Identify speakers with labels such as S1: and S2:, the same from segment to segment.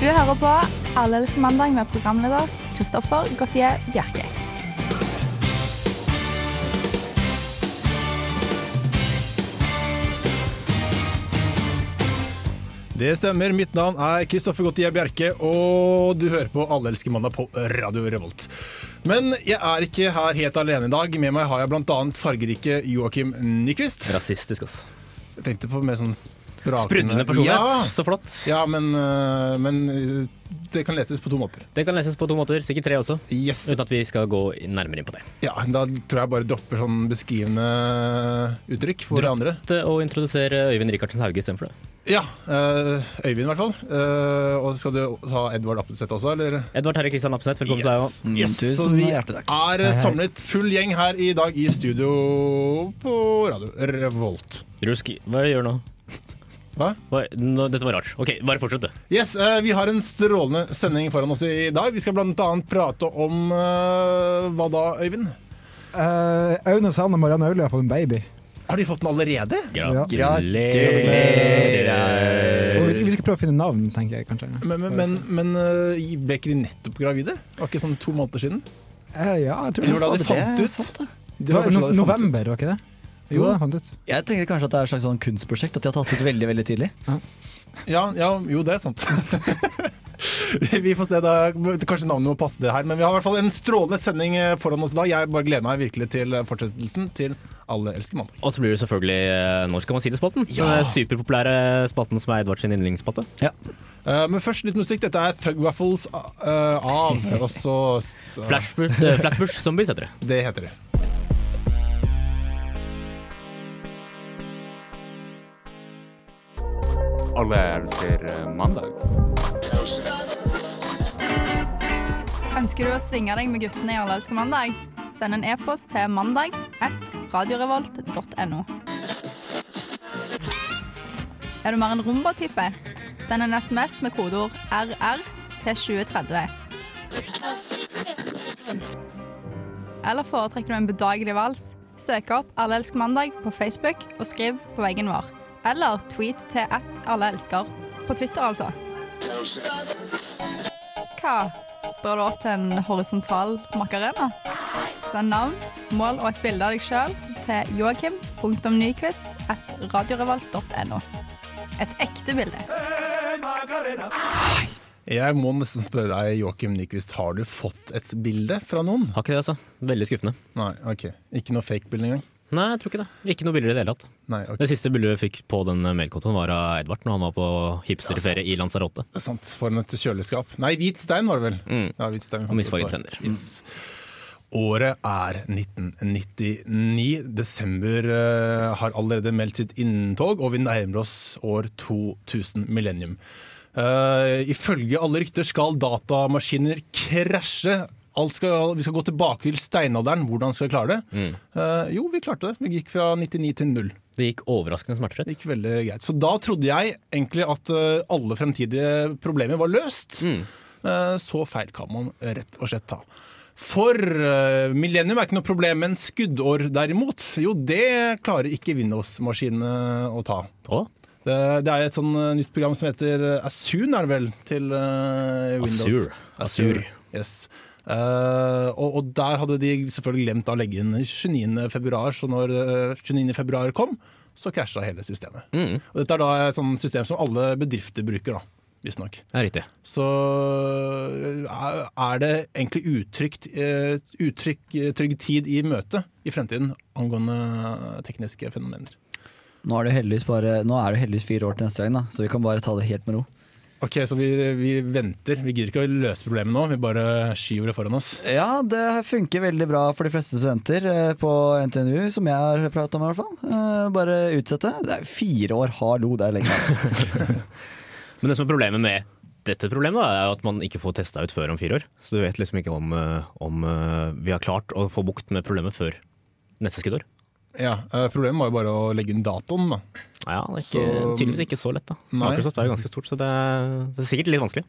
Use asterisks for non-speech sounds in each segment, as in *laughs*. S1: hører på Alle elsker mandag med programleder Kristoffer Gautier Bjerke.
S2: Det stemmer. Mitt navn er Kristoffer Gottier Bjerke, og du hører på Alle elsker mandag på Radio Revolt. Men jeg er ikke her helt alene i dag. Med meg har jeg bl.a. fargerike Joakim Nyquist.
S3: Rasistisk, altså.
S2: Jeg tenkte på mer sånn sprakende
S3: Sprudlende personlighet.
S2: Ja,
S3: Så flott.
S2: ja men, øh, men øh, det kan leses på to måter.
S3: Det kan leses på to måter, sikkert tre også.
S2: Yes.
S3: Uten at vi skal gå nærmere inn på det.
S2: Ja, da tror jeg bare dropper sånn beskrivende eh, uttrykk for
S3: Dropp.
S2: andre.
S3: Å introdusere Øyvind Rikardsen Hauge istedenfor det.
S2: Ja. øh, Øyvind, i hvert fall. Øh, og skal du ta Edvard Appelseth også, eller?
S3: Edvard Terje Kristian Apseth, velkommen til deg òg.
S4: Mm,
S2: Yes,
S4: tusen
S2: så vi
S4: hjertelig takk.
S2: er samlet full gjeng her i dag i studio på Radio Revolt.
S3: Rusk, hva gjør du nå?
S2: Hva?
S3: Hva, nå? Dette var rart. Ok, bare fortsett, du.
S2: Yes, eh, Vi har en strålende sending foran oss i dag. Vi skal bl.a. prate om eh, Hva da, Øyvind?
S5: Eh, Aune Sand og Marianne Aulia på en baby.
S2: Har de fått den allerede?
S5: Og vi
S3: Gratulerer.
S5: skal, vi skal prøve å finne navn, tenker jeg kanskje.
S2: Men, men, men, men eh, ble ikke de nettopp gravide? Var ikke sånn to måneder siden?
S5: Eh, ja, jeg tror
S2: Eller var
S5: det.
S2: det da de
S4: Fader,
S2: fant
S4: er
S2: ut?
S4: sant, da.
S2: Det
S5: Det var
S2: kanskje da
S5: no
S2: de fant
S5: november,
S2: ut.
S5: var ikke det?
S2: Jo.
S5: Jo, det fant ut.
S4: Jeg tenker kanskje at det er et slags sånn kunstprosjekt, at de har tatt ut veldig veldig tidlig.
S2: Ja, ja, jo, det er sant. *laughs* vi får se, da. Kanskje navnet må passe det her. Men vi har i hvert fall en strålende sending eh, foran oss i dag. Jeg bare gleder meg virkelig til eh, fortsettelsen til Alle elsker mandag.
S3: Og så blir det selvfølgelig eh, Når skal man si det-spalten. Den
S2: Ja.
S3: superpopulære spalten som er Edvard sin yndlingsspalte.
S2: Eh, men først litt musikk. Dette er Thug Waffles eh, *laughs* av Og så st-
S3: Flashbush, eh, Flatbush Zombies heter det.
S2: Det heter det.
S6: Alle elsker eh, mandag.
S1: Ønsker du å svinge deg med guttene i Alle elsker mandag? Send en e-post til mandag at radiorevolt.no. Er du mer en rumba-type? Send en SMS med kodeord RR til 2030. Eller foretrekker du en bedagelig vals? Søk opp Alle elsker mandag på Facebook og skriv på veggen vår. Eller tweet til at alle elsker. På Twitter, altså. Hva bør du opp til en horisontal makarena? Send navn, mål og et bilde av deg sjøl til joakim.nyquist.radiorevolt.no. Et ekte bilde.
S2: Jeg må nesten spørre deg, Joakim Nyquist, har du fått et bilde fra noen?
S3: Har ikke det, altså. Veldig skuffende.
S2: Nei, ok. Ikke noe fake bilde engang?
S3: Nei, jeg tror ikke det. Ikke noe bilder i det hele tatt.
S2: Nei, ok.
S3: Det siste bildet vi fikk på den mailkontoen, var av Edvard når han var på hipsterferie i Lanzarote.
S2: Det er sant. Foran et kjøleskap. Nei, hvit stein var det vel?
S3: Mm.
S2: Ja, hvit stein.
S3: Og misfarget tenner.
S2: Yes. Mm. Året er 1999. Desember eh, har allerede meldt sitt inntog, og vi nærmer oss år 2000, millennium. Eh, ifølge alle rykter skal datamaskiner krasje. Alt skal, vi skal gå tilbake til steinalderen. Hvordan skal vi klare det? Eh, jo, vi klarte det. Vi gikk fra 99 til 0.
S3: Det gikk overraskende smertefritt.
S2: Det gikk veldig greit. Så da trodde jeg egentlig at eh, alle fremtidige problemer var løst. Eh, Så feil kan man rett og slett ta. For eh, millennium er ikke noe problem, men skuddår derimot, jo det klarer ikke Windows-maskinene å ta.
S3: Å,
S2: Det, det er et sånn eh, nytt program som heter Asun, er det vel, til eh, Windows.
S3: Azure.
S2: Azure.
S3: Azure.
S2: Yes. Eh, og, og der hadde de selvfølgelig glemt å legge inn 29. februar, så når eh, 29. februar kom, så krasja hele systemet. Og dette er da et sånt system som alle bedrifter bruker, da, visstnok.
S3: det er riktig.
S2: Så eh, er det egentlig utrygt, eh, utrykk, eh, trygg tid i møte i fremtiden angående tekniske fenomener.
S4: Nå er det heldigvis bare Nå er det heldigvis fire år til neste gang, da, så vi kan bare ta det helt med ro.
S2: Ok, så vi, vi venter. Vi gidder ikke å løse problemet nå, vi bare skyver det foran oss.
S4: Ja, det funker veldig bra for de fleste studenter eh, på NTNU, som jeg har prata med i hvert fall. Eh, Bare utsette. Det er fire år, hallo, det er lenge, altså.
S3: Men det som er problemet med dette problemet, da, er jo at man ikke får testa ut før om fire år. Så du vet liksom ikke om, eh, om eh, vi har klart å få bukt med problemet før neste skuddår.
S2: Ja, eh, Problemet var jo bare å legge inn datoen, da.
S3: Ja, det er ikke,
S2: Så-
S3: tydeligvis ikke så lett, da.
S2: Nei.
S3: Microsoft er jo ganske stort, så det er, det er sikkert litt vanskelig.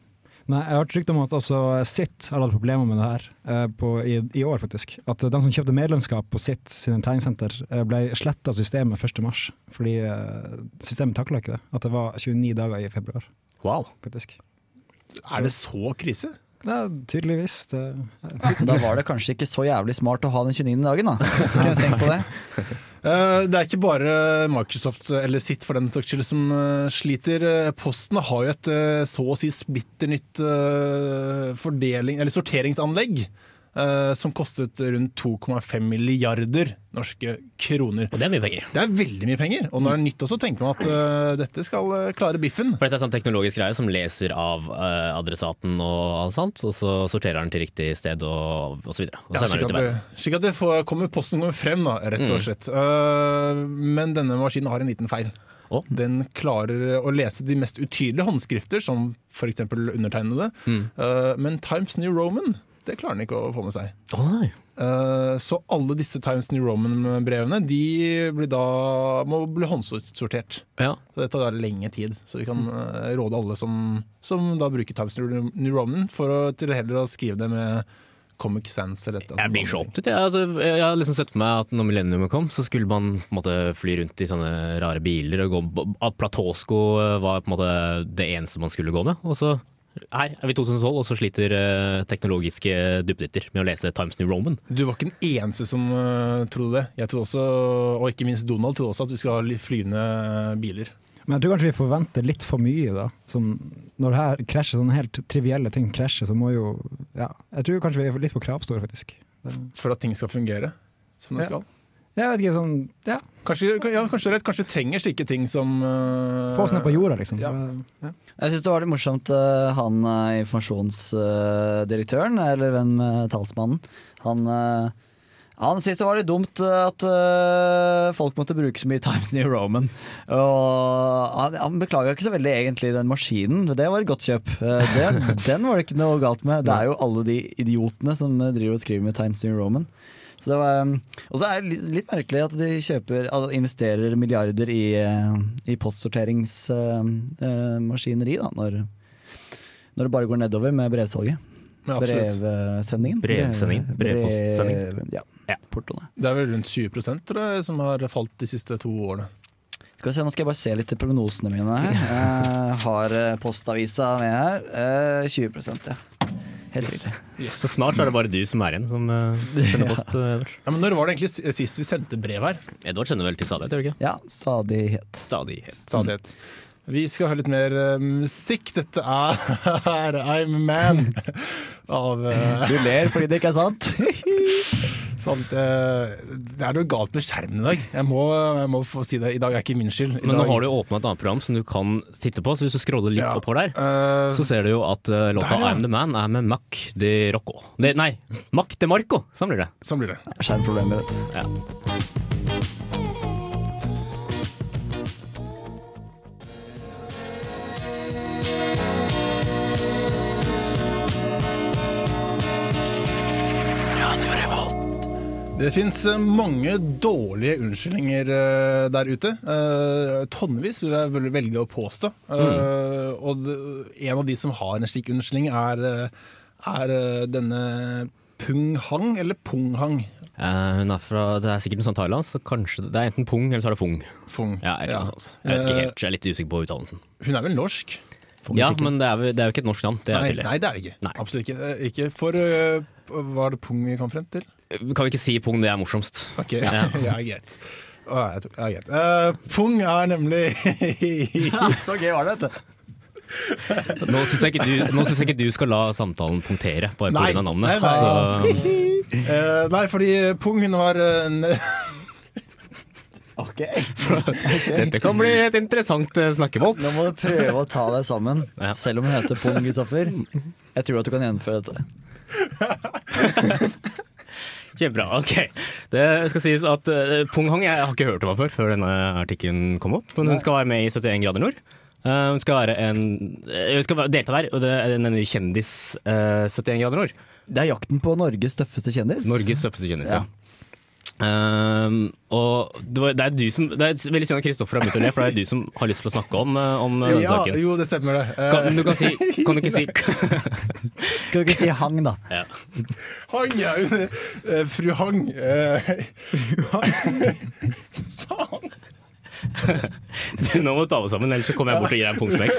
S5: Nei, jeg har hørt rykte om at altså, Sitt har hatt problemer med det her eh, på, i, i år, faktisk. At eh, de som kjøpte medlemskap på Sitt sine treningssenter, eh, ble sletta av systemet 1. mars. Fordi eh, systemet takla ikke det. At det var 29 dager i februar,
S3: Wow.
S5: faktisk.
S2: Er det så krise?
S5: Ja, tydeligvis. eh, Det,
S4: Da var det kanskje ikke så jævlig smart å ha den 29. dagen, da. Kunne jeg tenkt på det.
S2: Eh, Det er ikke bare Microsoft eh, eller sitt for den saks skyld som eh, sliter. Eh, Posten har jo et eh, så å si splitter nytt eh, fordeling, eller sorteringsanlegg. eh, Som kostet rundt 2,5 milliarder norske kroner.
S3: Og det er mye penger.
S2: Det er veldig mye penger, og når det er nytt også, tenker man at eh, dette skal eh, klare biffen.
S3: For dette er sånn teknologisk greie som leser av eh, adressaten og alt sånt, og så sorterer den til riktig sted og, og så videre. Og
S2: Ja,
S3: sender
S2: slik,
S3: den ut
S2: at
S3: til verden.
S2: det, slik at det får, kommer posten kommer frem, da, rett og
S3: Mm.
S2: slett. Eh, men denne maskinen har en liten feil.
S3: Å?
S2: Den klarer å lese de mest utydelige håndskrifter, som f.eks. undertegnede.
S3: Mm.
S2: Eh, men Times New Roman det klarer den ikke å få med seg.
S3: Å nei.
S2: Eh, så alle disse Times New Roman-brevene de blir da, må bli håndsortert.
S3: Ja.
S2: Så Det tar lengre tid, så vi kan
S3: Mm.
S2: eh, råde alle som, som da bruker Times New New Roman, for å, til heller å skrive det med Comic Sans. Eller et,
S3: Jeg blir så
S2: sånne ting.
S3: opptatt. Jeg, altså, jeg har liksom sett for meg at når millenniumet kom, så skulle man på en måte fly rundt i sånne rare biler. Og gå, at platåsko eh, var på en måte det eneste man skulle gå med. Og så her er vi i 2012, og så sliter eh, teknologiske duppeditter med å lese Times New Roman.
S2: Du var ikke den eneste som eh, trodde det. Jeg trodde også, og ikke minst Donald trodde også at vi skal ha litt flyvende biler.
S5: men jeg tror kanskje vi forventer litt for mye, da. Som, når det her krasjer, sånne helt trivielle ting krasjer, så må jo ja, Jeg tror kanskje vi er litt for kravstore, faktisk.
S2: For at ting skal fungere som det
S5: Ja.
S2: skal.
S5: Jeg vet ikke, sånn, ja,
S2: Kanskje, ja, kanskje du har rett, kanskje du trenger slike ting som eh,
S5: Få oss ned på jorda, liksom.
S2: Ja.
S5: Ja.
S4: Jeg syns det var litt morsomt, eh, han eh, informasjonsdirektøren, eller hvem eh, talsmannen, han eh, han syntes det var litt dumt eh, at eh, folk måtte bruke så mye Times New Roman. Og han, han beklaga ikke så veldig egentlig den maskinen, for det var et godt kjøp. Eh, det, den var det ikke noe galt med. Det er jo alle de idiotene som eh, driver og skriver med Times New Roman. Så det var, um, og så er det litt, litt merkelig at de kjøper, altså investerer milliarder i, eh, i postsorteringsmaskineri, da, når, når det bare går nedover med brevsalget.
S2: Men absolutt.
S4: Brevsendingen.
S3: Brevsendingen. Brevpostsendingen.
S4: Brev- Ja.
S3: Ja.
S4: Portoene.
S2: Det er vel rundt 20 tror jeg, som har falt de siste to årene.
S4: Skal vi se, Nå skal jeg bare se litt til prognosene mine her. Jeg har eh, Postavisa med her. Eh, 20 ja. Helt riktig.
S2: Yes.
S3: Så snart så er det bare du som er igjen som *laughs* eh, sender post. eh, Edvard.
S2: Ja, men når var det egentlig s- sist vi sendte brev her?
S3: Edvard sender vel til stadighet, gjør du ikke?
S4: Ja, stadighet.
S3: Stadig.
S2: Stadighet. Vi skal høre litt mer eh, musikk. Dette er *laughs* I'm a Man *laughs* av eh,
S4: Du ler fordi det ikke er *laughs* sant.
S2: Sånn, det, det er noe galt med skjermen i dag. Jeg må, jeg må få si det. I dag er ikke min skyld. I
S3: Men nå
S2: dag,
S3: har du åpna et annet program som du kan titte på, så hvis du scroller litt
S2: Ja.
S3: oppover der,
S2: Eh,
S3: så ser du jo at eh, låta
S2: Der, ja.
S3: I'm The Man er med Mac de Rocco. Det, nei, Mac de Marco, sånn blir det.
S2: Sånn blir det.
S4: Skjermproblemer, vet du.
S2: Det fins mange dårlige unnskyldninger eh, der ute. Eh, Tonnevis vil jeg vel velge å påstå. Eh,
S3: Mm.
S2: Og det, en av de som har en slik unnskyldning, er, eh, er eh, denne Punghang, eller Punghang
S3: Eh, hun er fra, det er sikkert noe sånn Thailand, så kanskje det er enten pung eller så er det fung.
S2: Fung.
S3: Ja, et eller annet sånt. Jeg vet ikke helt, jeg er litt usikker på uttalelsen.
S2: Eh, Hun er vel norsk?
S3: Ja, men det er, jo- det er jo ikke et norsk navn, det er
S2: Nei,
S3: jo tydelig.
S2: nei, det er det ikke.
S3: Nei.
S2: Absolutt ikke. Eh, ikke. For eh, hva er det Pung vi kom frem til?
S3: Kan vi ikke si pung, det er morsomst.
S2: Ok, *laughs* ja, greit. Å, jeg tok- ja, greit. Eh, Pung er nemlig
S4: *laughs* Så gøy var det, vet du.
S3: Nå syns jeg, ikke du- nå synes jeg ikke du skal la samtalen punktere, bare
S2: Nei,
S3: pga. navnet.
S2: nei, nei.
S3: Så,
S2: *laughs* Eh, Nei, fordi Pung hun var en
S3: dette kan bli et interessant eh, snakkebolt.
S4: Nå må du prøve å ta deg sammen,
S3: Ja.
S4: selv om hun heter Pung Kristoffer. Jeg tror at du kan gjennomføre dette.
S3: Kjempebra. ok. Det skal sies at eh, Pung Hang jeg har ikke hørt om henne før, før denne artikkelen kom opp. Men hun skal være med i 71 grader nord. Eh, hun skal, være en, eh, hun skal være- delta der, og det er nemlig kjendis eh, 71 grader nord.
S4: Det er jakten på Norges tøffeste kjendis.
S3: Norges tøffeste kjendis, ja. Ehm, og det, var, det er du som Det er veldig synd at Kristoffer har begynt å le, for det er du som har lyst til å snakke om, eh, om eh, denne
S2: Ja,
S3: saken.
S2: jo, det stemmer det. Eh,
S3: Kan, du kan, si, kan du ikke si
S4: Kan du ikke si hang, da?
S3: ja. *laughs*
S2: Hang, ja. hun- eh, Fru Hang. eh, Fru Hang? *laughs* Faen.
S3: Nå må du ta det sammen, ellers så kommer jeg bort og gir deg en pungsmekk.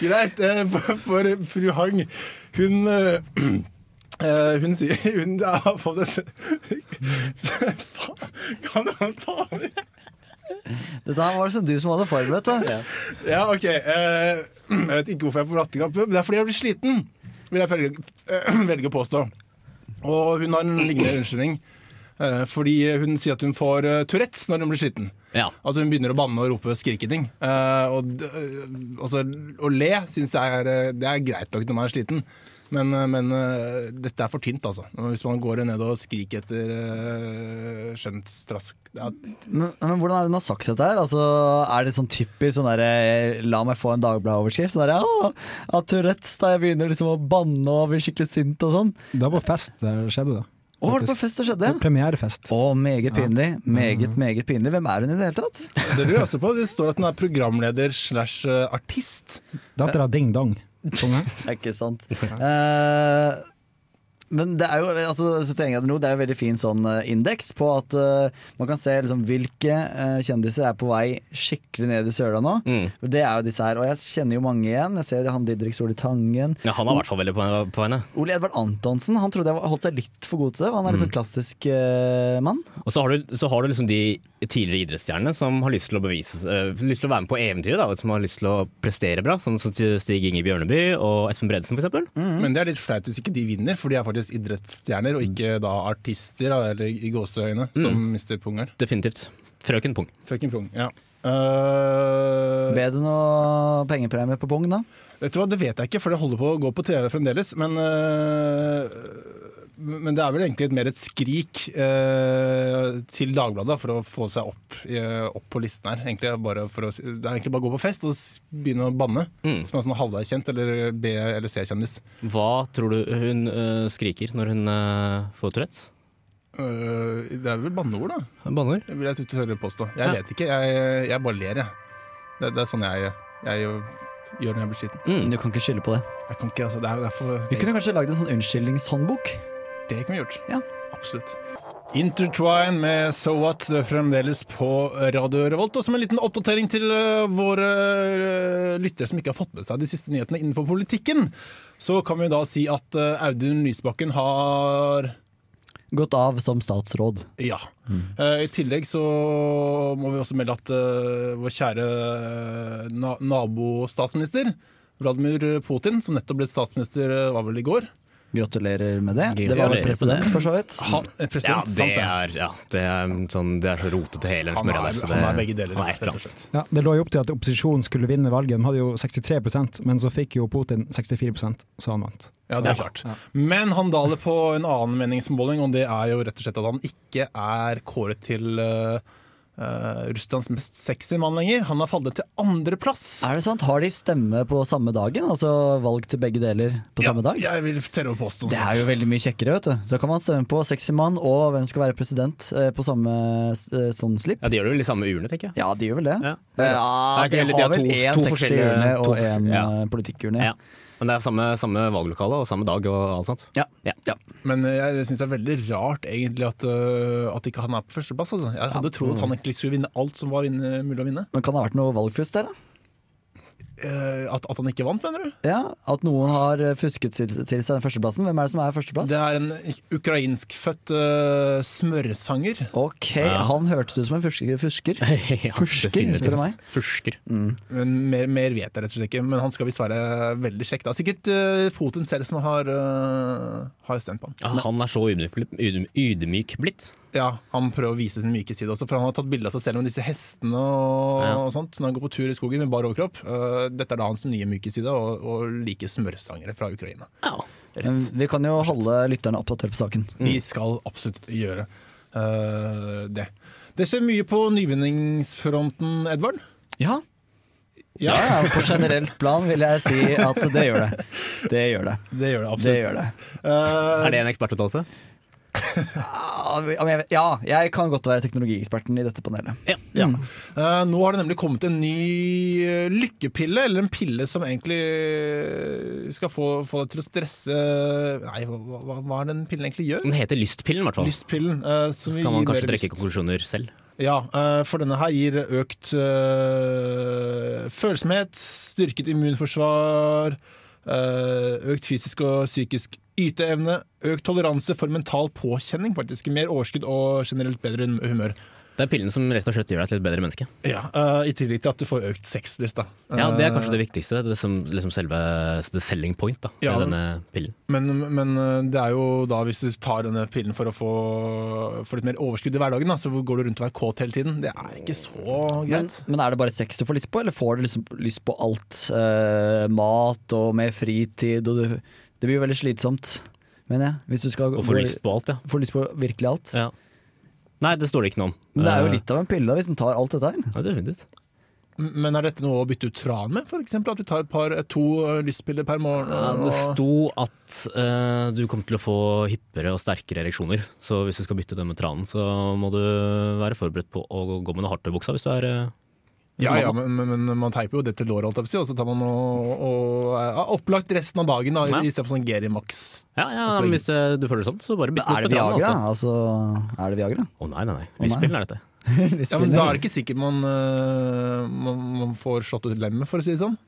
S2: Greit. eh, For, for fru Hang, hun eh, *clears throat* eh, hun sier hun har fått et *laughs* Faen, Kan han ta over?
S4: Dette her var det som du som hadde forberedt deg.
S2: Ja, OK. eh, *clears throat* Jeg vet ikke hvorfor jeg får latterkrampe. men Det er fordi jeg blir sliten, vil jeg velge- *clears throat* velge å påstå. Og hun har en lignende unnskyldning. eh, Fordi hun sier at hun får eh, Tourettes når hun blir sliten.
S3: Ja.
S2: Altså Hun begynner å banne og rope og skrike ting. Eh, og, d- eh, altså, å le syns jeg er, eh, det er greit nok når man er sliten, men, eh, men eh, dette er for tynt, altså. Hvis man går ned og skriker etter eh, skjønt strask ja,
S4: Men, men hvordan er det hun har sagt dette her? Altså, er det sånn typisk sånn der, eh, la meg få en dagbladoverskrift? Sånn der, «Åh, at Tourettes da jeg begynner liksom å banne og blir skikkelig sint og sånn.
S5: Det var på fest det skjedde, da.
S4: Å, var det
S5: faktisk.
S4: på fest det skjedde?
S5: På Premierefest.
S4: Å, meget pinlig. Meget, meget pinlig. Hvem er hun i det hele tatt?
S2: Det lurer jeg også på. Det står at hun er programleder slash eh, artist.
S5: Dattera Ding Dong. Konge.
S4: Det er *laughs* ikke sant. Eh, men det er jo altså, så tenker jeg at nå, det er jo veldig fin sånn eh, indeks på at eh, man kan se liksom, hvilke eh, kjendiser er på vei skikkelig ned i søla nå.
S3: Mm.
S4: Det er jo disse her, og jeg kjenner jo mange igjen. Jeg ser han Didrik Soli Tangen.
S3: Ja, han er i hvert fall veldig på, på henne.
S4: Ole Edvard Antonsen han trodde jeg var- holdt seg litt for god til det. for Han er
S3: Mm.
S4: liksom klassisk eh, mann.
S3: Og så har, du, så har du liksom de tidligere idrettsstjernene som har lyst til å bevise eh, Lyst til å være med på eventyret, da, som har lyst til å prestere bra. Sånn som Stig Inge Bjørneby og Espen Bredesen, f.eks.
S2: Men det er litt flaut hvis ikke de vinner, for de er faktisk idrettsstjerner og ikke da artister, da, eller i gåseøyne, som mister pung her.
S3: Definitivt. Frøken Pung.
S2: Frøken Pung. Ja. Eh,
S4: Bedre noe pengepremie på pung, da.
S2: Vet du hva, Det vet jeg ikke, for det holder på å gå på TV fremdeles. Men, øh, men det er vel egentlig et- mer et skrik øh, til Dagbladet for å få seg opp, øh, opp på listen her. Egentlig bare for å, det er egentlig bare å gå på fest og s- begynne å banne.
S3: Mm.
S2: Som er sånn halvveis kjent, eller B- eller C-kjendis.
S3: Hva tror du hun eh, skriker når hun eh, får Tourettes?
S2: Øh, det er vel banneord, da?
S3: Hun Banner?
S2: Det vil jeg tørre å påstå. Jeg
S3: Ja.
S2: vet ikke, jeg, jeg bare ler, jeg. Det, det er sånn jeg, jeg gjør når jeg blir sliten.
S3: Mm.
S4: Du kan ikke skylde på det.
S2: Jeg kan ikke, altså. Det er, det er for
S4: Vi kunne kanskje lagd en sånn unnskyldningshåndbok.
S2: Det kunne vi gjort.
S4: Ja.
S2: Absolutt. Intertwine med So What fremdeles på Radio Revolt. Og som en liten oppdatering til eh, våre eh, lyttere som ikke har fått med seg de siste nyhetene innenfor politikken, så kan vi da si at eh, Audun Lysbakken har
S4: Gått av som statsråd.
S2: ja. Eh, I tillegg så må vi også melde at eh, vår kjære eh, na nabostatsminister Vladimir Putin, som nettopp ble statsminister, eh, var vel i går
S4: Gratulerer med det. Det
S3: Gratulerer
S4: var vel
S3: med
S4: president,
S3: det.
S4: for så vidt.
S2: han, eh,
S3: Ja,
S2: President,
S3: det
S2: sant det?
S3: er, ja, det er, sånn, det er så rotete hele den
S2: Han er,
S3: smørja der. så
S2: han
S3: det-
S2: er begge deler.
S3: Han er et
S2: rett
S3: eller
S2: og
S3: annet.
S2: slett.
S5: Ja, det lå jo opp til at opposisjonen skulle vinne valget. De hadde jo 63 men så fikk jo Putin 64 så han vant.
S2: Ja, det er klart. Men han daler på en annen meningsmåling, og det er jo rett og slett at han ikke er kåret til eh, eh, Russlands mest sexy mann lenger. Han har falt ned til andreplass.
S4: Er det sant? Har de stemme på samme dagen? Altså valg til begge deler på samme dag?
S2: Ja, jeg vil selv påstå noe
S4: Det er
S2: sånt.
S4: jo veldig mye kjekkere, vet du. Så kan man stemme på sexy mann og hvem skal være president eh, på samme eh, sånn slipp.
S3: Ja, De gjør det vel i samme urne, tenker jeg.
S4: Ja, de gjør vel det.
S3: Ja.
S4: Ja,
S3: Det er ikke veldig- de har to-
S4: én
S3: to
S4: sexy
S3: forskjellige-
S4: urne
S3: to
S4: og
S3: forskjellige-
S4: én
S3: ja.
S4: eh, politikkurne.
S3: Ja. Men det er samme, samme valglokale og samme dag og alt sånt.
S4: Ja.
S3: Ja. *laughs*
S2: Men jeg syns det er veldig rart egentlig at, eh, at ikke han er på førsteplass. Altså. Jeg hadde trodd at han egentlig skulle vinne alt som var vinne, mulig å vinne.
S4: Men kan det ha vært noe valgfusk der, da?
S2: Eh, at, at han ikke vant, mener du?
S4: Ja, At noen har eh, fusket til til seg den førsteplassen? Hvem er det som er førsteplass?
S2: Det er en ukrainskfødt eh, smørsanger.
S4: Ok,
S3: Ja.
S4: han hørtes ut som en fusker. fusker.
S3: *laughs*
S4: Fusker,
S3: definitivt.
S4: spør du meg.
S3: Fusker.
S2: Men mer, mer vet jeg rett og slett ikke, men han skal visst være veldig kjekk. Det er sikkert eh, Putin selv som har, eh, har stemt på han.
S3: Ja, han er så ydmyk, ydm- ydmyk blitt.
S2: Ja, Han prøver å vise sin myke side også, for han har tatt bilde av seg selv med disse hestene og,
S3: Ja.
S2: og sånt når han går på tur i skogen med bar overkropp. Eh, dette er da hans nye myke side, og, og like smørsangere fra Ukraina.
S4: Men Vi kan jo holde lytterne oppdatert på saken.
S2: Vi skal absolutt gjøre eh, det. Det skjer mye på nyvinningsfronten, Edvard.
S4: Ja,
S2: Ja,
S4: ja, på generelt plan vil jeg si at det gjør det. Det gjør det.
S2: det gjør det absolutt.
S4: Det gjør det.
S2: Eh,
S3: Er det en ekspertuttalelse?
S4: Ja, men jeg- Ja, jeg kan godt være teknologieksperten i dette panelet.
S2: Ja. Eh, nå har det nemlig kommet en ny eh, lykkepille, eller en pille som egentlig eh, skal få, få deg til å stresse Nei, hva, hva, hva er det den pillen egentlig gjør?
S3: Den heter Lystpillen, i hvert fall.
S2: Lystpillen. eh, som
S3: Så
S2: vil
S3: kan
S2: gi
S3: man
S2: mer
S3: kanskje trekke
S2: lyst.
S3: konklusjoner selv.
S2: Ja, eh, for denne her gir økt eh, følsomhet, styrket immunforsvar, eh, økt fysisk og psykisk yteevne, økt toleranse for mental påkjenning, faktisk mer overskudd og generelt bedre hum- humør.
S3: Det er pillen som rett og slett gjør deg til et bedre menneske.
S2: Ja, eh, I tillegg til at du får økt sexlyst. da.
S3: Ja, Det er
S2: Eh,
S3: kanskje det viktigste. Det er som, liksom selve the selling point da, med
S2: Ja, men-
S3: denne pillen.
S2: Men, men eh, det er jo da hvis du tar denne pillen for å få, få litt mer overskudd i hverdagen, da, så går du rundt og er kåt hele tiden. Det er ikke så
S4: Men,
S2: greit.
S4: men er det bare sex du får lyst på, eller får du liksom lyst på alt? Eh, mat og mer fritid, og du, det blir jo veldig slitsomt, mener jeg. Hvis du skal
S3: Og får lyst på alt, ja.
S4: får lyst på virkelig alt.
S3: ja. Nei, det står det ikke noe om.
S4: Men det er jo
S3: Eh,
S4: litt av en pille hvis den tar alt dette her.
S3: Ja, det er fint ut.
S2: Men, er dette noe å bytte ut tran med? For eksempel at vi tar et par, to eh, lystpiller per morgen?
S3: Ja,
S2: og-
S3: det sto at eh, du kommer til å få hippere og sterkere ereksjoner. Så hvis du skal bytte det med tranen, så må du være forberedt på å gå- gå med noe hardt i buksa hvis du er eh,
S2: ja, ja men, men, men man teiper jo det til låret, holdt jeg på å si, og så tar man og, og er opplagt resten av dagen da,
S3: Ja.
S2: istedenfor sånn Geri Max.
S3: Ja, ja, men hvis eh, du føler det sånn, så bare bytt
S4: Er
S3: bort med
S4: det
S3: tranen.
S4: Viagra?
S3: altså.
S4: Altså, er det Viagra?
S3: Å nei, nei, nei.
S4: nei.
S3: Lystpillen er dette.
S2: Ja, men Da er det ikke sikkert man, eh, man, man får slått ut lemmet, for å si det sånn.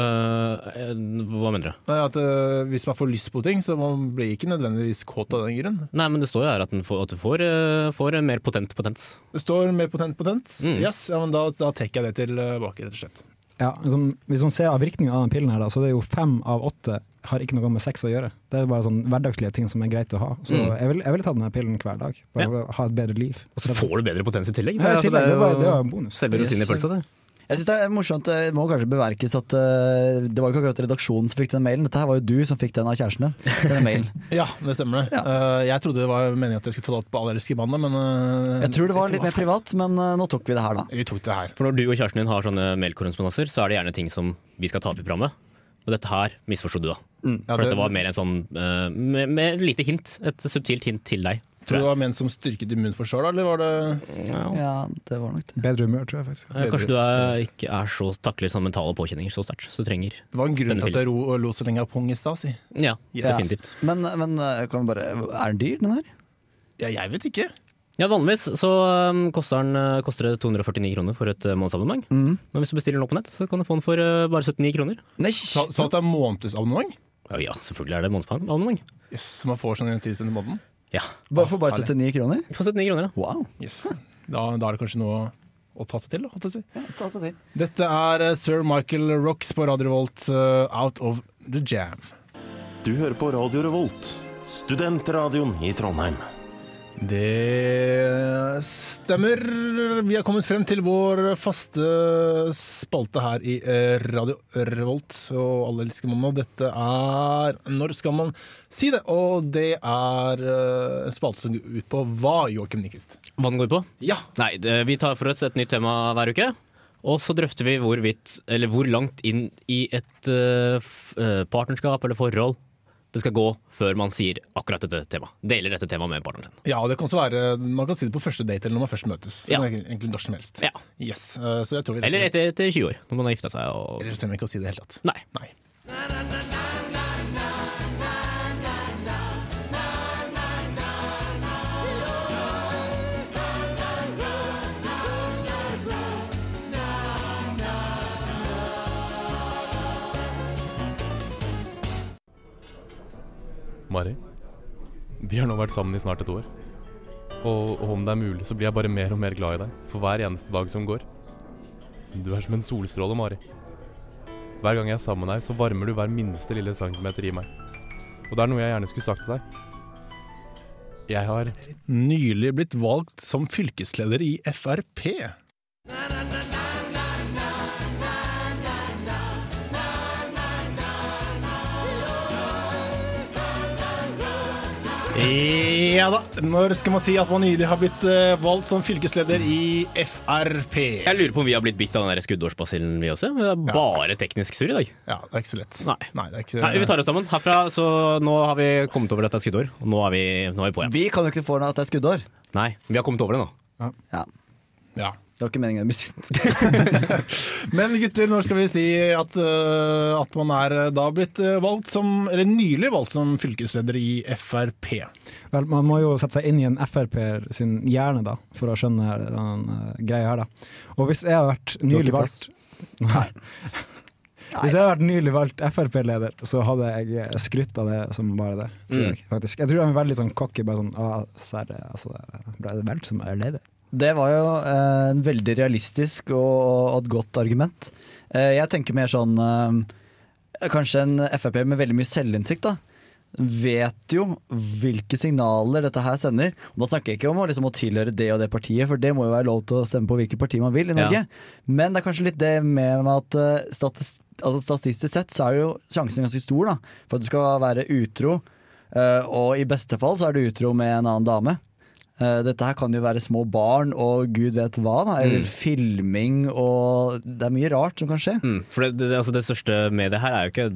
S3: Eh, eh, hva mener du?
S2: Nei, At, eh, hvis man får lyst på ting, så man blir ikke nødvendigvis kåt av den grunn.
S3: Nei, men det står jo her at, den får, at du får, eh, får en mer potent potens.
S2: Det står mer potent potent.
S3: Mm.
S2: Yes, ja, men da, da trekker jeg det tilbake, rett og slett.
S5: Ja, liksom, hvis man ser avvirkningen av den pillen, her, da, så er det jo fem av åtte har ikke noe med sex å gjøre. Det er bare sånn hverdagslige ting som er greit å ha. Så
S3: Mm.
S5: jeg, vil, jeg vil ta denne pillen hver dag, bare for å ha et bedre liv.
S3: Og så får du bedre potens i tillegg.
S5: ja, i
S3: Altså,
S5: tillegg, det, var,
S3: jo
S5: det var en bonus.
S3: Selve rosinen i pølsa, det.
S4: Jeg synes det er morsomt, det må kanskje beverkes at eh, det var ikke akkurat redaksjonen som fikk den mailen, dette her var jo du som fikk den av kjæresten din. Denne mailen.
S2: Ja, det stemmer det. Eh, jeg trodde det var meningen at jeg skulle ta det opp på allergiske bandet, men eh,
S4: Jeg tror det var
S2: dette
S4: litt mer privat, men eh, nå tok vi det her da.
S2: feil. Vi tok det her.
S3: For når du og kjæresten din har sånne mailkorrespondanser, så er det gjerne ting som vi skal ta opp i programmet. Og dette her misforsto du, da.
S2: Ja,
S3: For
S2: det,
S3: dette var mer en sånn eh, med, med et lite hint, et subtilt hint til deg.
S2: tror du det var ment som styrket immunforsvar, da, eller var det
S3: Ja.
S4: Ja, det var nok det.
S5: Bedre humør, tror jeg faktisk.
S3: Eh, Kanskje du er, ikke er så takler sånne mentale påkjenninger så sterkt, så du trenger
S2: Det var en grunn
S3: Denne
S2: til at jeg ro, lo så lenge av pung i stad, si.
S3: Ja,
S2: Yes.
S3: definitivt.
S4: Men, men eh, kan vi bare, er den dyr den her?
S2: Ja, jeg vet ikke.
S3: Ja, Vanligvis så eh, koster, den, eh, koster det 249 kroner for et eh, månedsabonnement. Men hvis du bestiller den opp på nett, så kan du få den for eh, bare 79 kroner.
S4: Nei,
S2: Sa sa at det er månedsabonnement?
S3: Ja, ja selvfølgelig er det månedsabonnement.
S2: Yes, som man får sånn en tid siden i måneden?
S3: Ja,
S4: bare for bare
S2: Herlig.
S4: 79 kroner?
S3: for 79 kroner, ja.
S4: Wow.
S2: Yes. Da, da er det kanskje noe å, å ta seg til, da, holdt jeg på å si.
S4: Ta seg til.
S2: Dette er eh, Sir Michael Rocks på Radio Revolt, eh, Out of the Jam.
S7: Du hører på Radio Revolt, studentradioen i Trondheim.
S2: Det stemmer. Vi har kommet frem til vår faste spalte her i eh, Radio Revolt og Alle elsker mandag. Dette er Når skal man si det? Og det er eh, en spalte som går ut på hva, Joakim Nyquist?
S3: Hva den går på?
S2: Ja.
S3: Nei, det, vi tar for oss et nytt tema hver uke. Og så drøfter vi hvorvidt, eller hvor langt inn i et eh, f- eh, partnerskap eller forhold det skal gå før man sier akkurat dette temaet. Deler dette temaet med partneren sin.
S2: ja, og det kan også være Man kan si det på første date eller når man først møtes.
S3: Ja.
S2: Ja. Egentlig når som helst.
S3: Ja.
S2: Yes, eh, så jeg tror vi
S3: Eller etter, etter 20 år, når man har gifta seg og
S2: Eller stemmer ikke å si det i det hele tatt.
S3: Nei.
S2: Nei.
S8: Mari, vi har nå vært sammen i snart et år. Og, og om det er mulig, så blir jeg bare mer og mer glad i deg for hver eneste dag som går. Du er som en solstråle, Mari. Hver gang jeg er sammen med deg, så varmer du hver minste lille centimeter i meg. Og det er noe jeg gjerne skulle sagt til deg. Jeg har
S2: Nylig blitt valgt som fylkesleder i Frp. Ja da, når skal man si at man nylig har blitt eh, valgt som fylkesleder i Frp?
S3: Jeg lurer på om vi har blitt bitt av den der skuddårsbasillen, vi også. Vi er bare teknisk sur i dag.
S2: Ja, det er ikke så lett.
S3: Nei.
S2: det er ikke
S3: Nei, vi tar oss sammen herfra, så nå har vi kommet over at det er skuddår. Og nå er vi, nå er vi på igjen.
S4: Vi kan jo ikke få den at det er skuddår.
S3: Nei, vi har kommet over det nå.
S4: Ja.
S2: Ja.
S4: Det var ikke meningen å bli sint.
S2: Men gutter, når skal vi si at, eh, at man er eh, da blitt eh, valgt som, eller nylig valgt som fylkesleder i Frp?
S5: Vel, man må jo sette seg inn i en Frp-er sin hjerne da, for å skjønne den eh, greia her. da. Og hvis jeg hadde vært nylig
S4: ikke
S5: valgt Nei. *laughs* Hvis jeg hadde vært nylig valgt Frp-leder, så hadde jeg eh, skrytt av det som bare det. Tror
S3: Mm.
S5: jeg, faktisk. jeg tror jeg er veldig sånn cocky. Bare sånn ah, serre, altså, jeg ble valgt som eh, leder.
S4: Det var jo eh, en veldig realistisk og, og et godt argument. Eh, jeg tenker mer sånn eh, Kanskje en Frp med veldig mye selvinnsikt, da. Vet jo hvilke signaler dette her sender. Og da snakker jeg ikke om å, liksom, å tilhøre det og det partiet, for det må jo være lov til å stemme på hvilket parti man vil i
S3: Ja.
S4: Norge. Men det er kanskje litt det med at eh, statis, altså, statistisk sett så er jo sjansen ganske stor da, for at du skal være utro. eh, og i beste fall så er du utro med en annen dame. Eh, Dette her kan jo være små barn og gud vet hva. Da. Eller filming og Det er mye rart som kan skje.
S3: Mm. Mm. For det, det, altså det største med det her er jo ikke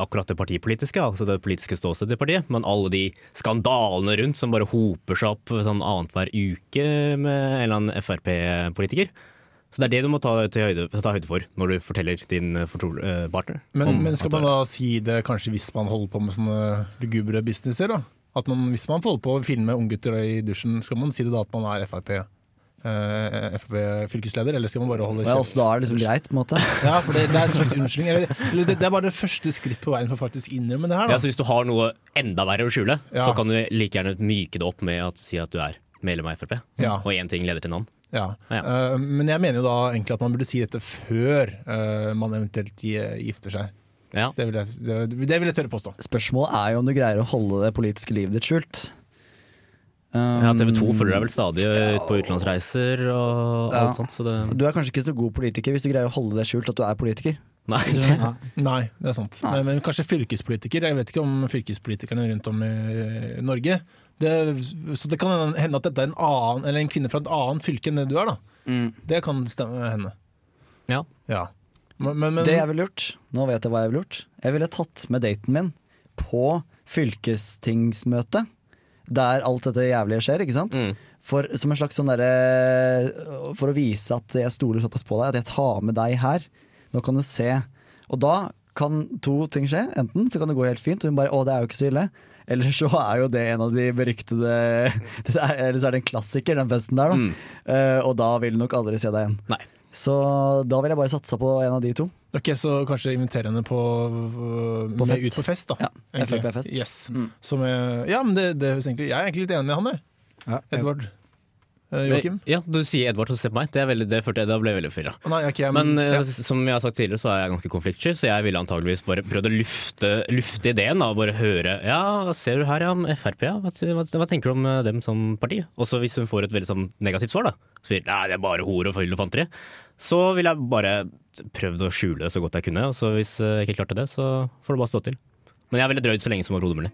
S3: akkurat det partipolitiske, altså det politiske ståstedet til partiet, men alle de skandalene rundt som bare hoper seg opp sånn annenhver uke med en eller annen Frp-politiker. Så det er det du må ta, til høyde, ta høyde for når du forteller din eh, fortro- eh, partner.
S2: Men,
S3: om
S2: men skal
S3: at du
S2: man
S3: er-
S2: da si det kanskje hvis man holder på med sånne lugubre businesser? da? At man, Hvis man får holde på å filme unggutter i dusjen, skal man si det da at man er Frp? eh, Frp-fylkesleder, eller skal man bare holde
S4: Og ja, også da er det liksom greit, på en måte.
S3: *laughs*
S2: Ja, for det, det er en slags unnskyldning. Eller, eller det, det er bare det første skritt på veien for faktisk å innrømme det her.
S3: Ja,
S2: Da.
S3: så hvis du har noe enda verre å skjule,
S2: Ja.
S3: så kan du like gjerne myke det opp med å si at du er medlem av Frp,
S2: Ja.
S3: og én ting leder til en annen.
S2: Ja.
S3: Ja.
S2: Eh, men jeg mener jo da egentlig at man burde si dette før eh, man eventuelt gi- gifter seg.
S3: Ja.
S2: Det vil jeg, det, det vil jeg tørre påstå.
S4: Spørsmålet er jo om du greier å holde det politiske livet ditt skjult. Um,
S3: Ja, TV
S2: Mm.
S3: 2 følger deg vel stadig ut på utenlandsreiser og
S4: Ja.
S3: alt sånt, så det
S4: Um, Du er kanskje ikke så god politiker hvis du greier å holde det skjult at du er politiker.
S2: *laughs*
S3: Nei, det,
S5: Ja.
S2: Nei, det er sant.
S4: Nei.
S2: Men, men kanskje fylkespolitiker. Jeg vet ikke om fylkespolitikerne rundt om i Norge det, Så det kan hende at dette er en, annen, eller en kvinne fra et annet fylke enn det du er. da.
S3: Mm.
S2: Det kan stemme henne.
S3: Ja.
S2: ja. Men, men, men
S4: Det jeg ville gjort, nå vet jeg hva jeg ville gjort. Jeg ville tatt med daten min på fylkestingsmøte, der alt dette jævlige skjer, ikke sant?
S3: Mm.
S4: For, som en slags sånn derre For å vise at jeg stoler såpass på deg, at jeg tar med deg her. Nå kan du se. Og da kan to ting skje. Enten så kan det gå helt fint, og hun bare 'Å, det er jo ikke så ille'. Eller så er jo det en av de beryktede *laughs* det er, Eller så er det en klassiker, den festen der, da.
S3: Mm.
S4: Eh, og da vil du nok aldri se deg igjen.
S3: Nei.
S4: Så da vil jeg bare satsa på en av de to.
S2: Ok, Så kanskje invitere henne på, øh,
S4: På
S2: med
S4: fest.
S2: ut på fest, da.
S4: Ja,
S2: egentlig.
S4: FrP-fest.
S2: Yes.
S4: Mm.
S2: Som jeg, ja, men det, det høres egentlig Jeg er egentlig litt enig med han, jeg.
S5: Ja, jeg-
S2: Edvard. Eh, Joakim?
S3: Ja, du sier Edvard og ser på meg. Det, er veldig, det følte jeg, da ble jeg veldig forvirra.
S2: Å, Nei, jeg er ikke jeg.
S3: Men
S2: Men,
S3: eh,
S2: ja.
S3: s- som jeg har sagt tidligere, så er jeg ganske konfliktsky, så jeg ville antageligvis bare prøvd å lufte, lufte ideen. Da, og bare høre Ja, ser du her, ja, om Frp, ja. Hva, hva, hva tenker du om eh, dem som parti? Og så hvis hun får et veldig sånn negativt svar, da, så sier hun, nei, det er bare hor og fyll og fanteri, så ville jeg bare prøvd å skjule det så godt jeg kunne. Og så hvis eh, jeg ikke klarte det, så får det bare stå til. Men jeg ville drøyd så lenge som overhodet mulig.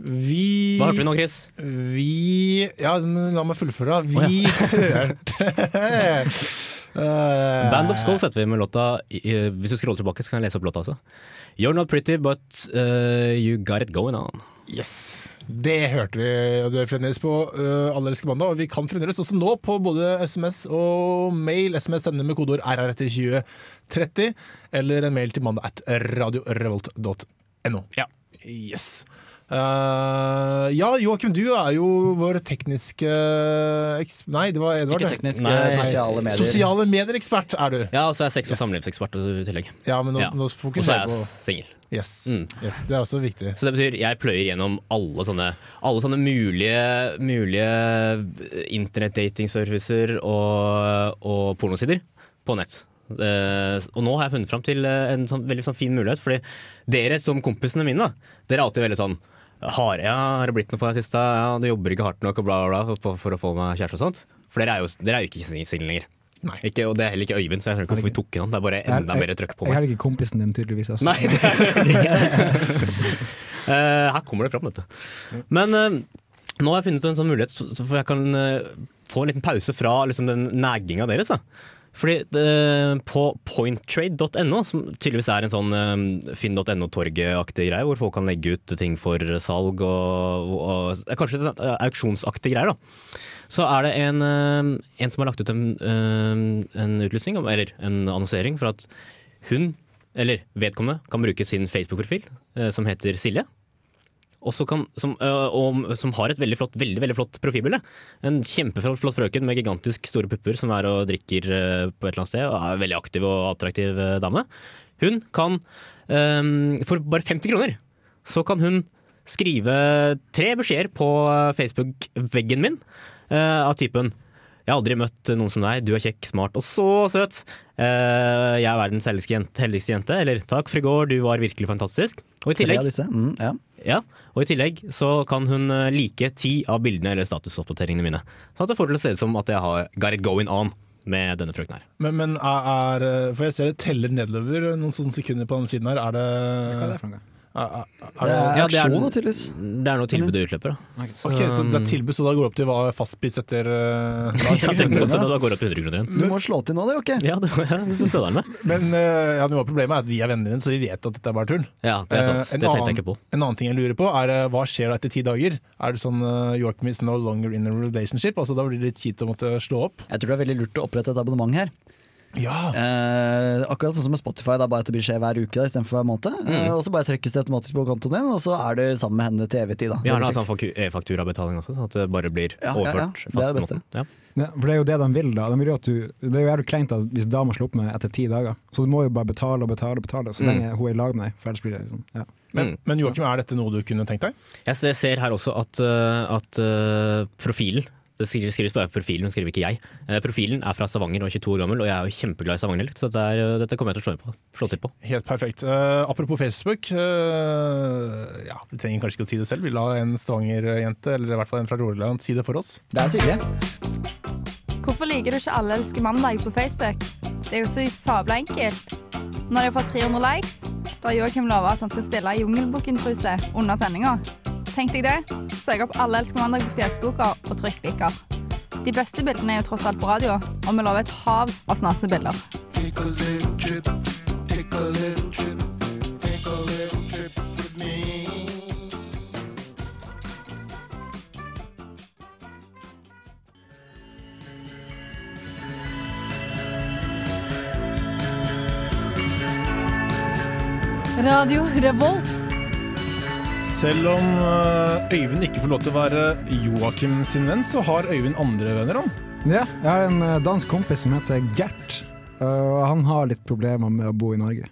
S2: vi,
S3: Hva hørte vi nå, Chris?
S2: vi Ja, men la meg fullføre. da. Vi hørte Eh,
S3: *laughs* Band of Skulls heter vi med låta eh, Hvis du scroller tilbake, så kan jeg lese opp låta altså. You're not pretty, but eh, you got it going on.
S2: Yes. Det hørte vi. og Du er fremdeles på uh, Allerske mandag, og vi kan fremdeles også nå på både SMS og mail. SMS sender med kodeord RR etter 2030, eller en mail til mandag at radiorevolt.no.
S3: Ja.
S2: Yes. Eh, ja, Joakim, du er jo vår tekniske eh, eks... Nei, det var Edvard.
S4: Ikke
S2: det.
S4: teknisk,
S3: Nei,
S4: eh, sosiale medier.
S2: Sosiale medier-ekspert er du.
S3: Ja, og så er jeg sex- og
S2: Yes.
S3: samlivsekspert i tillegg.
S2: Ja, men nå,
S3: Ja.
S2: nå
S3: Og så er
S2: fokuserer
S3: jeg
S2: vi på
S3: singel.
S2: yes.
S3: Mm.
S2: yes. Det er også viktig.
S3: Så det betyr jeg pløyer gjennom alle sånne, alle sånne mulige, mulige internettdatingservicer og, og pornosider på nett. Eh, og nå har jeg funnet fram til eh, en sånn, veldig sånn fin mulighet, fordi dere som kompisene mine, da, dere er alltid veldig sånn har, ja, har det blitt noe på deg siste? Ja, du jobber ikke hardt nok og bla, bla, bla for, for å få meg kjæreste og sånt. For dere er jo, dere er jo ikke single lenger.
S2: Nei.
S3: Ikke, og det er heller ikke Øyvind, så jeg skjønner ikke hvorfor vi tok inn han. Det er bare enda mer trøkk på
S5: Jeg
S3: meg.
S5: har ikke kompisen din, tydeligvis. Altså.
S3: Nei, det er det ikke. Eh, her kommer det fram, vet du. Men eh, nå har jeg funnet en sånn mulighet, så så for jeg kan eh, få en liten pause fra liksom, den nagginga deres. Da. Fordi det, på pointtrade.no, som tydeligvis er en sånn eh, finn.no-torget-aktig greie, hvor folk kan legge ut ting for salg og, og eh, kanskje litt sånn, eh, auksjonsaktige greier, da. Så er det en, eh, en som har lagt ut en, eh, en utlysning, om- eller en annonsering, for at hun, eller vedkommende, kan bruke sin Facebook-profil, eh, som heter Silje. Og så kan, som, eh, og, som har et veldig flott, veldig, veldig flott profilbilde. En kjempeflott flott frøken med gigantisk store pupper som er og drikker eh, på et eller annet sted. Og er en veldig aktiv og attraktiv eh, dame. Hun kan, eh, for bare 50 kroner, så kan hun skrive tre beskjeder på eh, Facebook-veggen min eh, av typen jeg har aldri møtt noen som deg. Du er kjekk, smart og så søt. Eh, jeg er verdens heldigste jente, heldigste jente. Eller takk for i går, du var virkelig fantastisk. Og i
S4: Tre
S3: tillegg
S4: av disse. Mm, ja.
S3: ja, og i tillegg så kan hun eh, like ti av bildene eller statusoppdateringene mine. Så at det får det til å se ut som at jeg har got it going on med denne frøken her.
S2: Men, men er, er- For jeg ser det teller nedover noen sånne sekunder på denne siden her. Er det
S9: Hva er det for noe?
S2: Er, er,
S4: Eh,
S2: er,
S4: Det er
S3: Ja, det er-
S4: auksjon, naturligvis.
S3: Det er noe tilbudet utløper, da.
S2: Ok, så det er tilbud, så da går det opp til hva er fastpris etter
S3: *laughs*
S2: eh, da?
S3: Jeg tenkte at det da går opp til 100 kroner igjen.
S4: Du må slå til nå, det, Jokke.
S3: Ja, det var jeg. Du søderen med.
S2: Men eh, ja, noe av problemet er at vi er venner din, så vi vet at dette er bare tull.
S3: Ja, det er sant.
S2: Eh, en
S3: Det tenkte
S2: annen-
S3: jeg ikke på.
S2: En annen ting jeg lurer på, er eh, hva skjer da etter ti dager? Er det sånn uh, Joachim is no longer in a relationship? Altså Da blir det litt kjipt å måtte slå opp.
S4: Jeg tror det er veldig lurt å opprette et abonnement her.
S2: Ja,
S4: Eh, akkurat sånn som med Spotify, det er bare at det blir skje hver uke da, istedenfor hver måned. Eh, og så bare trekkes det automatisk på kontoen din, og så er du sammen med henne til evig tid. Da.
S3: Vi har en sånn faku- e-fakturabetaling også, sånn at det bare blir
S4: Ja, ja, ja.
S3: overført.
S4: Det er
S3: fast
S4: det
S3: på
S4: beste.
S3: måten. Ja.
S9: Ja, for det er jo det de vil, da. De vil jo at du, det er jo jævlig kleint at hvis dama slår opp med etter ti dager. Så du må jo bare betale og betale og betale
S3: Mm.
S9: så lenge hun er i lag med deg. For ellers blir det liksom ja.
S2: men, men Joachim, er dette noe du kunne tenkt deg?
S3: Jeg ser- ser her også at, øh, at øh, profilen det skri- skrives bare profilen, hun skriver ikke jeg. Eh, Profilen er fra Stavanger og er 22 år gammel, og jeg er jo kjempeglad i stavangerdialekt, så dette, er, øh, dette kommer jeg til å slå, på, slå til på.
S2: Helt perfekt. Eh, apropos Facebook. eh, ja, Vi trenger kanskje ikke å si det selv. Vi la en Stavanger-jente, eller i hvert fall en fra Rogaland, si det for oss.
S4: Det er Silje.
S1: Hvorfor liker du ikke Alle elsker mandag på Facebook? Det er jo så sabla enkelt. Når de har fått 300 likes, da har Joakim lova at han skal stille Jungelbukken-truse under sendinga. Tenk deg det. Søk opp Alle elsker mandag på Facebooka og trykk liker. De beste bildene er jo tross alt på radio, og vi lover et hav av snaste bilder. Radio Revolt.
S2: Selv om eh, Øyvind ikke får lov til å være Joakim sin venn, så har Øyvind andre venner, han.
S9: ja. Jeg har en eh, dansk kompis som heter Gert, eh, og han har litt problemer med å bo i Norge.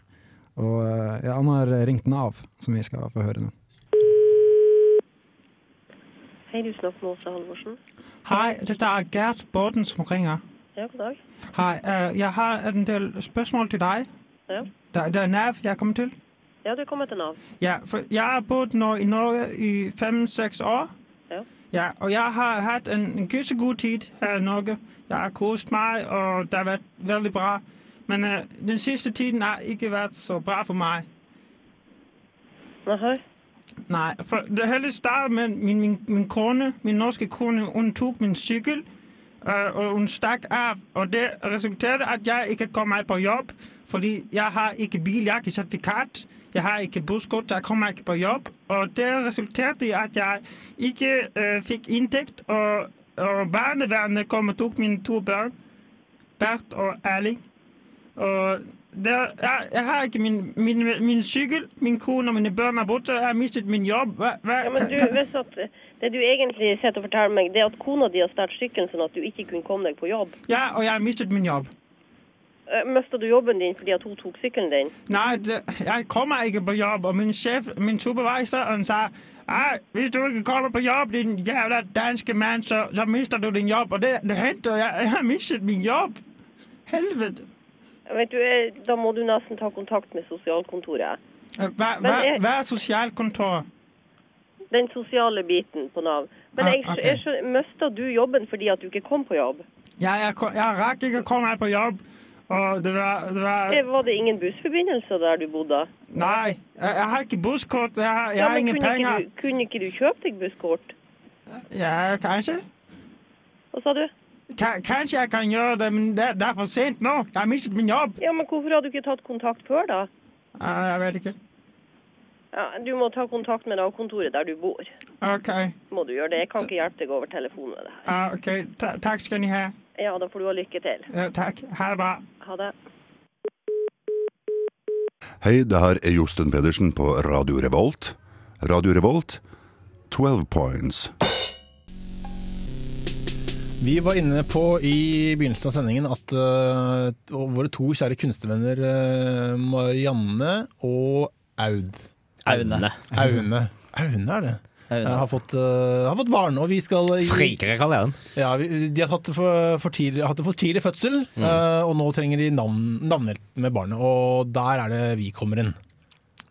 S9: Og eh, ja, han har ringt Nav, som vi skal få høre nå.
S10: Hei, du snakker med Åse Halvorsen.
S5: Hej, det der er Gert Borten, som ringer.
S10: Ja, god dag.
S5: Hej, øh, jeg har en del spørgsmål til dig.
S10: Ja.
S5: Der, der er NAV, jeg er kommet til.
S10: Ja, du kommer til Nav.
S5: Ja, for jeg har boet nå i Norge i 5-6 år.
S10: Ja.
S5: Ja, og jeg har hatt en gussegod tid her i Norge. Jeg har kost meg, og det har vært veldig bra. Men øh, den sidste tiden har ikke vært så bra for mig.
S10: Jaha.
S5: Nej, for det hele startede med, at min, min, min kone, min norske kone, hun tog min cykel, øh, og hun stak af, og det resulterede, at jeg ikke kom med på job, fordi jeg har ikke bil, jeg har ikke certifikat, jeg har ikke busskort, jeg kommer ikke på job, og det resulterede i, at jeg ikke øh, fik indtægt, og, og barnevernet kom og tog mine to børn, Bert og Erling. Og der, jeg, jeg har ikke min, min, min cykel, min kone og mine børn er borte. Jeg har mistet min jobb. Hva, hva,
S10: Ja, men
S5: kan-
S10: du,
S5: kan-
S10: hvis at det du egentlig sitter og forteller meg, det er at kona di har stjålet sykkelen sånn at du ikke kunne komme deg på jobb.
S5: ja, og jeg har mistet min jobb.
S10: Mista du jobben din fordi at hun tok sykkelen din?
S5: Nei, det, jeg kommer ikke på jobb, og min sjef, min supervisor, han sa Nei, hvis du ikke kommer på jobb, din jævla danske mann, så, så mister du din jobb. Og det, det hendte, og jeg, jeg har mistet min jobb. Helvete.
S10: Vet du, eh, Da må du nesten ta kontakt med sosialkontoret.
S5: Øh, Hva, hva,
S10: jeg-
S5: hva er sosialkontor?
S10: Den sosiale biten på Nav. Men
S5: Ah,
S10: jeg,
S5: ok.
S10: jeg, skjønner- mista du jobben fordi at du ikke kom på jobb?
S5: Ja, jeg, ko- jeg rakk ikke å komme på jobb, og det var, det var
S10: Eh, Var det ingen bussforbindelser der du bodde?
S5: Nej, jeg, jeg har ikke busskort, jeg har, jeg
S10: Ja,
S5: har
S10: men
S5: ingen
S10: kunne ikke,
S5: penger.
S10: du, kunne ikke du kjøpe deg busskort?
S5: Ja, kanskje?
S10: Hva sa du?
S11: Ka kanskje jeg kan gjøre det, men det, det er for sent nå. Jeg har mistet min jobb.
S10: Ja, men hvorfor har du ikke tatt kontakt før, da?
S11: Eh,
S5: Ah,
S11: jeg vet ikke.
S10: Ja, du må ta kontakt med Nav-kontoret der du bor.
S11: OK.
S10: Må du gjøre det. Jeg kan ikke hjelpe deg over telefonen med det her.
S5: Ah,
S11: Ja, ok. Ta takk skal ni ha.
S10: Ja, da får du ha lykke til.
S11: Ja, takk. Ha det bra.
S10: Ha det.
S12: Hei, det her er Josten Pedersen på Radio Revolt. Radio Revolt, 12 points.
S2: Vi var inne på i begynnelsen av sendingen at eh, t- våre to kjære kunstnervenner eh, Marianne og Aud
S4: Aune.
S2: Aune. Aune er det. Eh, Har, fått, eh, har fåt barn, og vi skal eh, gi-
S3: Frikere, kaller jeg den.
S2: Ja, vi, De har tatt det for, for tidlig, hatt det for tidlig fødsel,
S3: Mm.
S2: eh, og nå trenger de navn, navnhjelp med barnet. Og der er det vi kommer inn.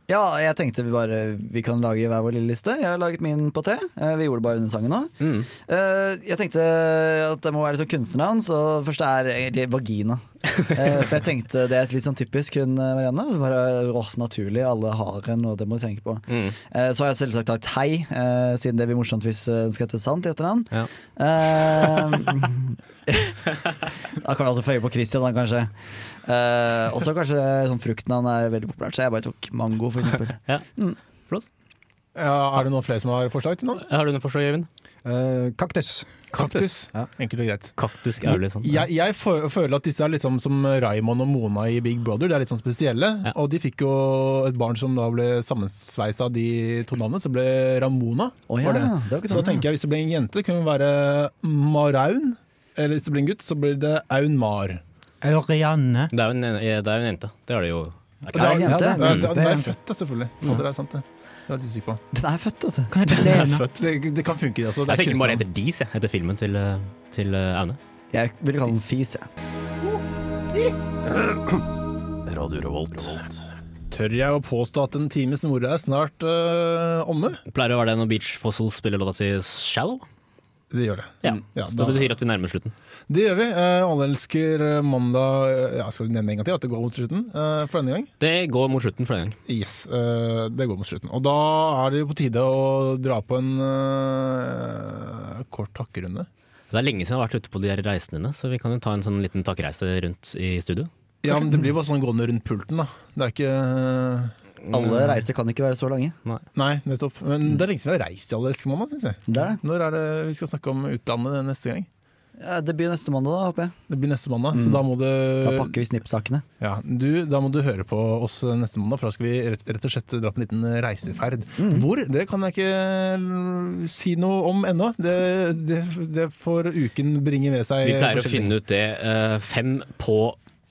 S4: Ja, jeg tenkte vi bare vi kan lage hver vår lille liste. Jeg har laget min på T. Eh, Vi gjorde det bare under sangen nå. Eh, Jeg tenkte at det må være litt sånn kunstnernavn, så det første er egentlig vagina. Eh, For jeg tenkte det er et litt sånn typisk hun eh, Marianne. som Bare åh, naturlig, alle har en, og det må vi tenke på. Eh, Så har jeg selvsagt lagt hei, eh, siden det blir morsomt hvis eh, hun skal hete Sant i etternavn.
S3: Ja.
S4: Eh, *laughs* Da kan vi altså føye på Christian, da, kanskje. Eh, også kanskje sånn fruktnavn er veldig populært, så jeg bare tok mango, for eksempel.
S3: Ja.
S2: Ja, er det noen flere som har forslag til noe?
S3: Har du noe forslag, Øyvind?
S5: kaktus.
S2: Kaktus. Enkelt og greit.
S3: Kaktus er jo litt sånn.
S2: Jeg, jeg fø- føler at disse er litt sånn som Raymond og Mona i Big Brother. De er litt sånn spesielle. Og de fikk jo et barn som da ble sammensveisa av de to navnene, som ble Ramona.
S4: Å ja,
S2: var det.
S4: det var ikke
S2: så
S4: dumt.
S2: tenker jeg hvis det ble en jente, kunne det være Maraun. Eller hvis det blir en gutt, så blir det Aun Mar.
S11: Ørjanne.
S3: Det er jo en, det er jo en jente. Det er det jo.
S2: Og det er-
S4: Ja, det er en
S2: Ja,
S4: jente.
S2: det er-
S4: Det er
S2: det er Mm.
S4: en jente.
S2: født, da, selvfølgelig. Fader, det er sant, det. Det er jeg litt usikker på.
S4: Den er født, vet du.
S11: Kan jeg
S3: *laughs*
S2: Det, er født. det, det kan funke, det, altså. Det er
S3: Jeg tenker den bare
S2: kunstnernavn.
S3: heter Dis, jeg. Etter filmen til, eh, til eh, Aune.
S4: Jeg ville kalle den fis, jeg.
S7: Radio Revolt.
S2: Tør jeg å påstå at en times moro er snart øh, omme?
S3: Pleier å være det når Beach Fossil spiller låta si Shallow.
S2: Det gjør det.
S3: Ja.
S2: Ja,
S3: Så
S2: da-
S3: det betyr at vi nærmer slutten.
S2: Det gjør vi. Eh, Alle elsker mandag eh, ja, Skal vi nevne en gang til at det går mot slutten eh, for denne gang?
S3: Det går mot slutten for denne gang.
S2: Yes, eh, det går mot slutten. Og da er det jo på tide å dra på en eh, kort takkerunde.
S3: Det er lenge siden jeg har vært ute på de her reisene dine, så vi kan jo ta en sånn liten takreise rundt i studio.
S2: Ja, men Det blir bare sånn gående rundt pulten, da. Det er ikke eh,
S3: Mm.
S4: Alle reiser kan ikke være så lange.
S2: Nei, nettopp. Men det er lenge siden vi har reist i Alle elsker mandag, syns jeg.
S4: Det er det.
S2: Når er det vi skal snakke om utlandet neste gang?
S4: Ja, det blir neste mandag, da, håper jeg.
S2: Det blir neste mandag, så da må du
S4: Mm. Da
S3: Eh,
S4: pakker vi snippsakene.
S2: Ja, du, Da må du høre på oss neste mandag, for da skal vi rett, rett og slett dra på en liten reiseferd.
S4: Mm.
S2: Hvor? Det kan jeg ikke si noe om ennå. Det, det, det får uken bringe med seg.
S3: Vi pleier å finne ut det eh, fem på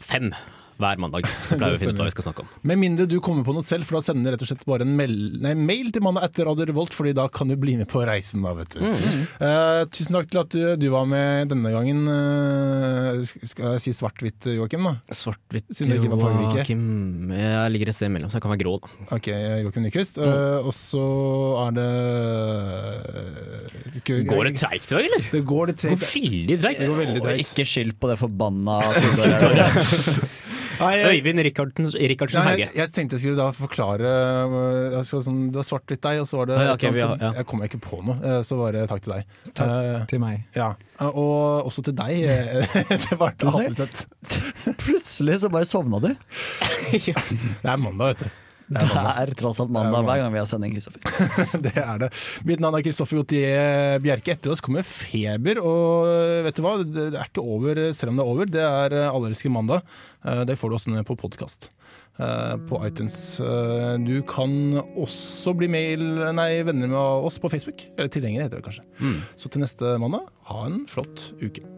S3: fem hver mandag. Så pleier vi å finne ut hva vi skal snakke om.
S2: Med mindre du kommer på noe selv, for da sender du rett og slett bare en mail, nei, mail til mandag etter Radio Revolt, fordi da kan du bli med på reisen, da, vet du.
S4: Mm.
S2: Eh, tusen takk til at du, du var med denne gangen. eh, sk- skal jeg si svart-hvitt, Joakim? da?
S3: Svart-hvitt
S2: Siden det ikke var fargerike.
S3: Joakim Jeg ligger et sted imellom, så jeg kan være grå, da.
S2: Ok, Joakim Nyquist. Eh, og så er eh, det
S3: Går det treigt i dag, eller?
S2: Det går litt
S3: Det går veldig treigt.
S4: Og ikke skyld på det
S3: *laughs*
S4: forbanna
S2: Nei, jeg,
S3: Øyvind Rikardsen, Rikardsen
S2: nei, jeg,
S3: Hauge.
S2: jeg tenkte jeg skulle da forklare øh, jeg skal, sånn, Det var svart-hvitt deg, og så var det
S3: Ah, ja, ok,
S2: et eller
S3: vi
S2: annet
S3: har-
S2: som-
S3: ja.
S2: Jeg kom ikke på noe, eh, så bare takk til deg. Eh,
S5: Til meg.
S2: ja. Og også til deg. eh, *laughs* det var til
S4: deg?
S2: Hatteset.
S4: *laughs* Plutselig så bare sovna du.
S2: Det er mandag, vet du.
S4: Det er tross alt mandag hver gang vi har sending. Kristoffer.
S2: *laughs* Det er det. Mitt navn er Kristoffer Gautier Bjerke. Etter oss kommer Feber, og eh, vet du hva? Det det er ikke over selv om det er over. Det er eh, Alle elsker mandag. Eh, Det får du også ned på podkast på iTunes. Eh, Du kan også bli mail, nei, venner med oss på Facebook. Eller tilhengere, heter det kanskje. Så til neste mandag, ha en flott uke.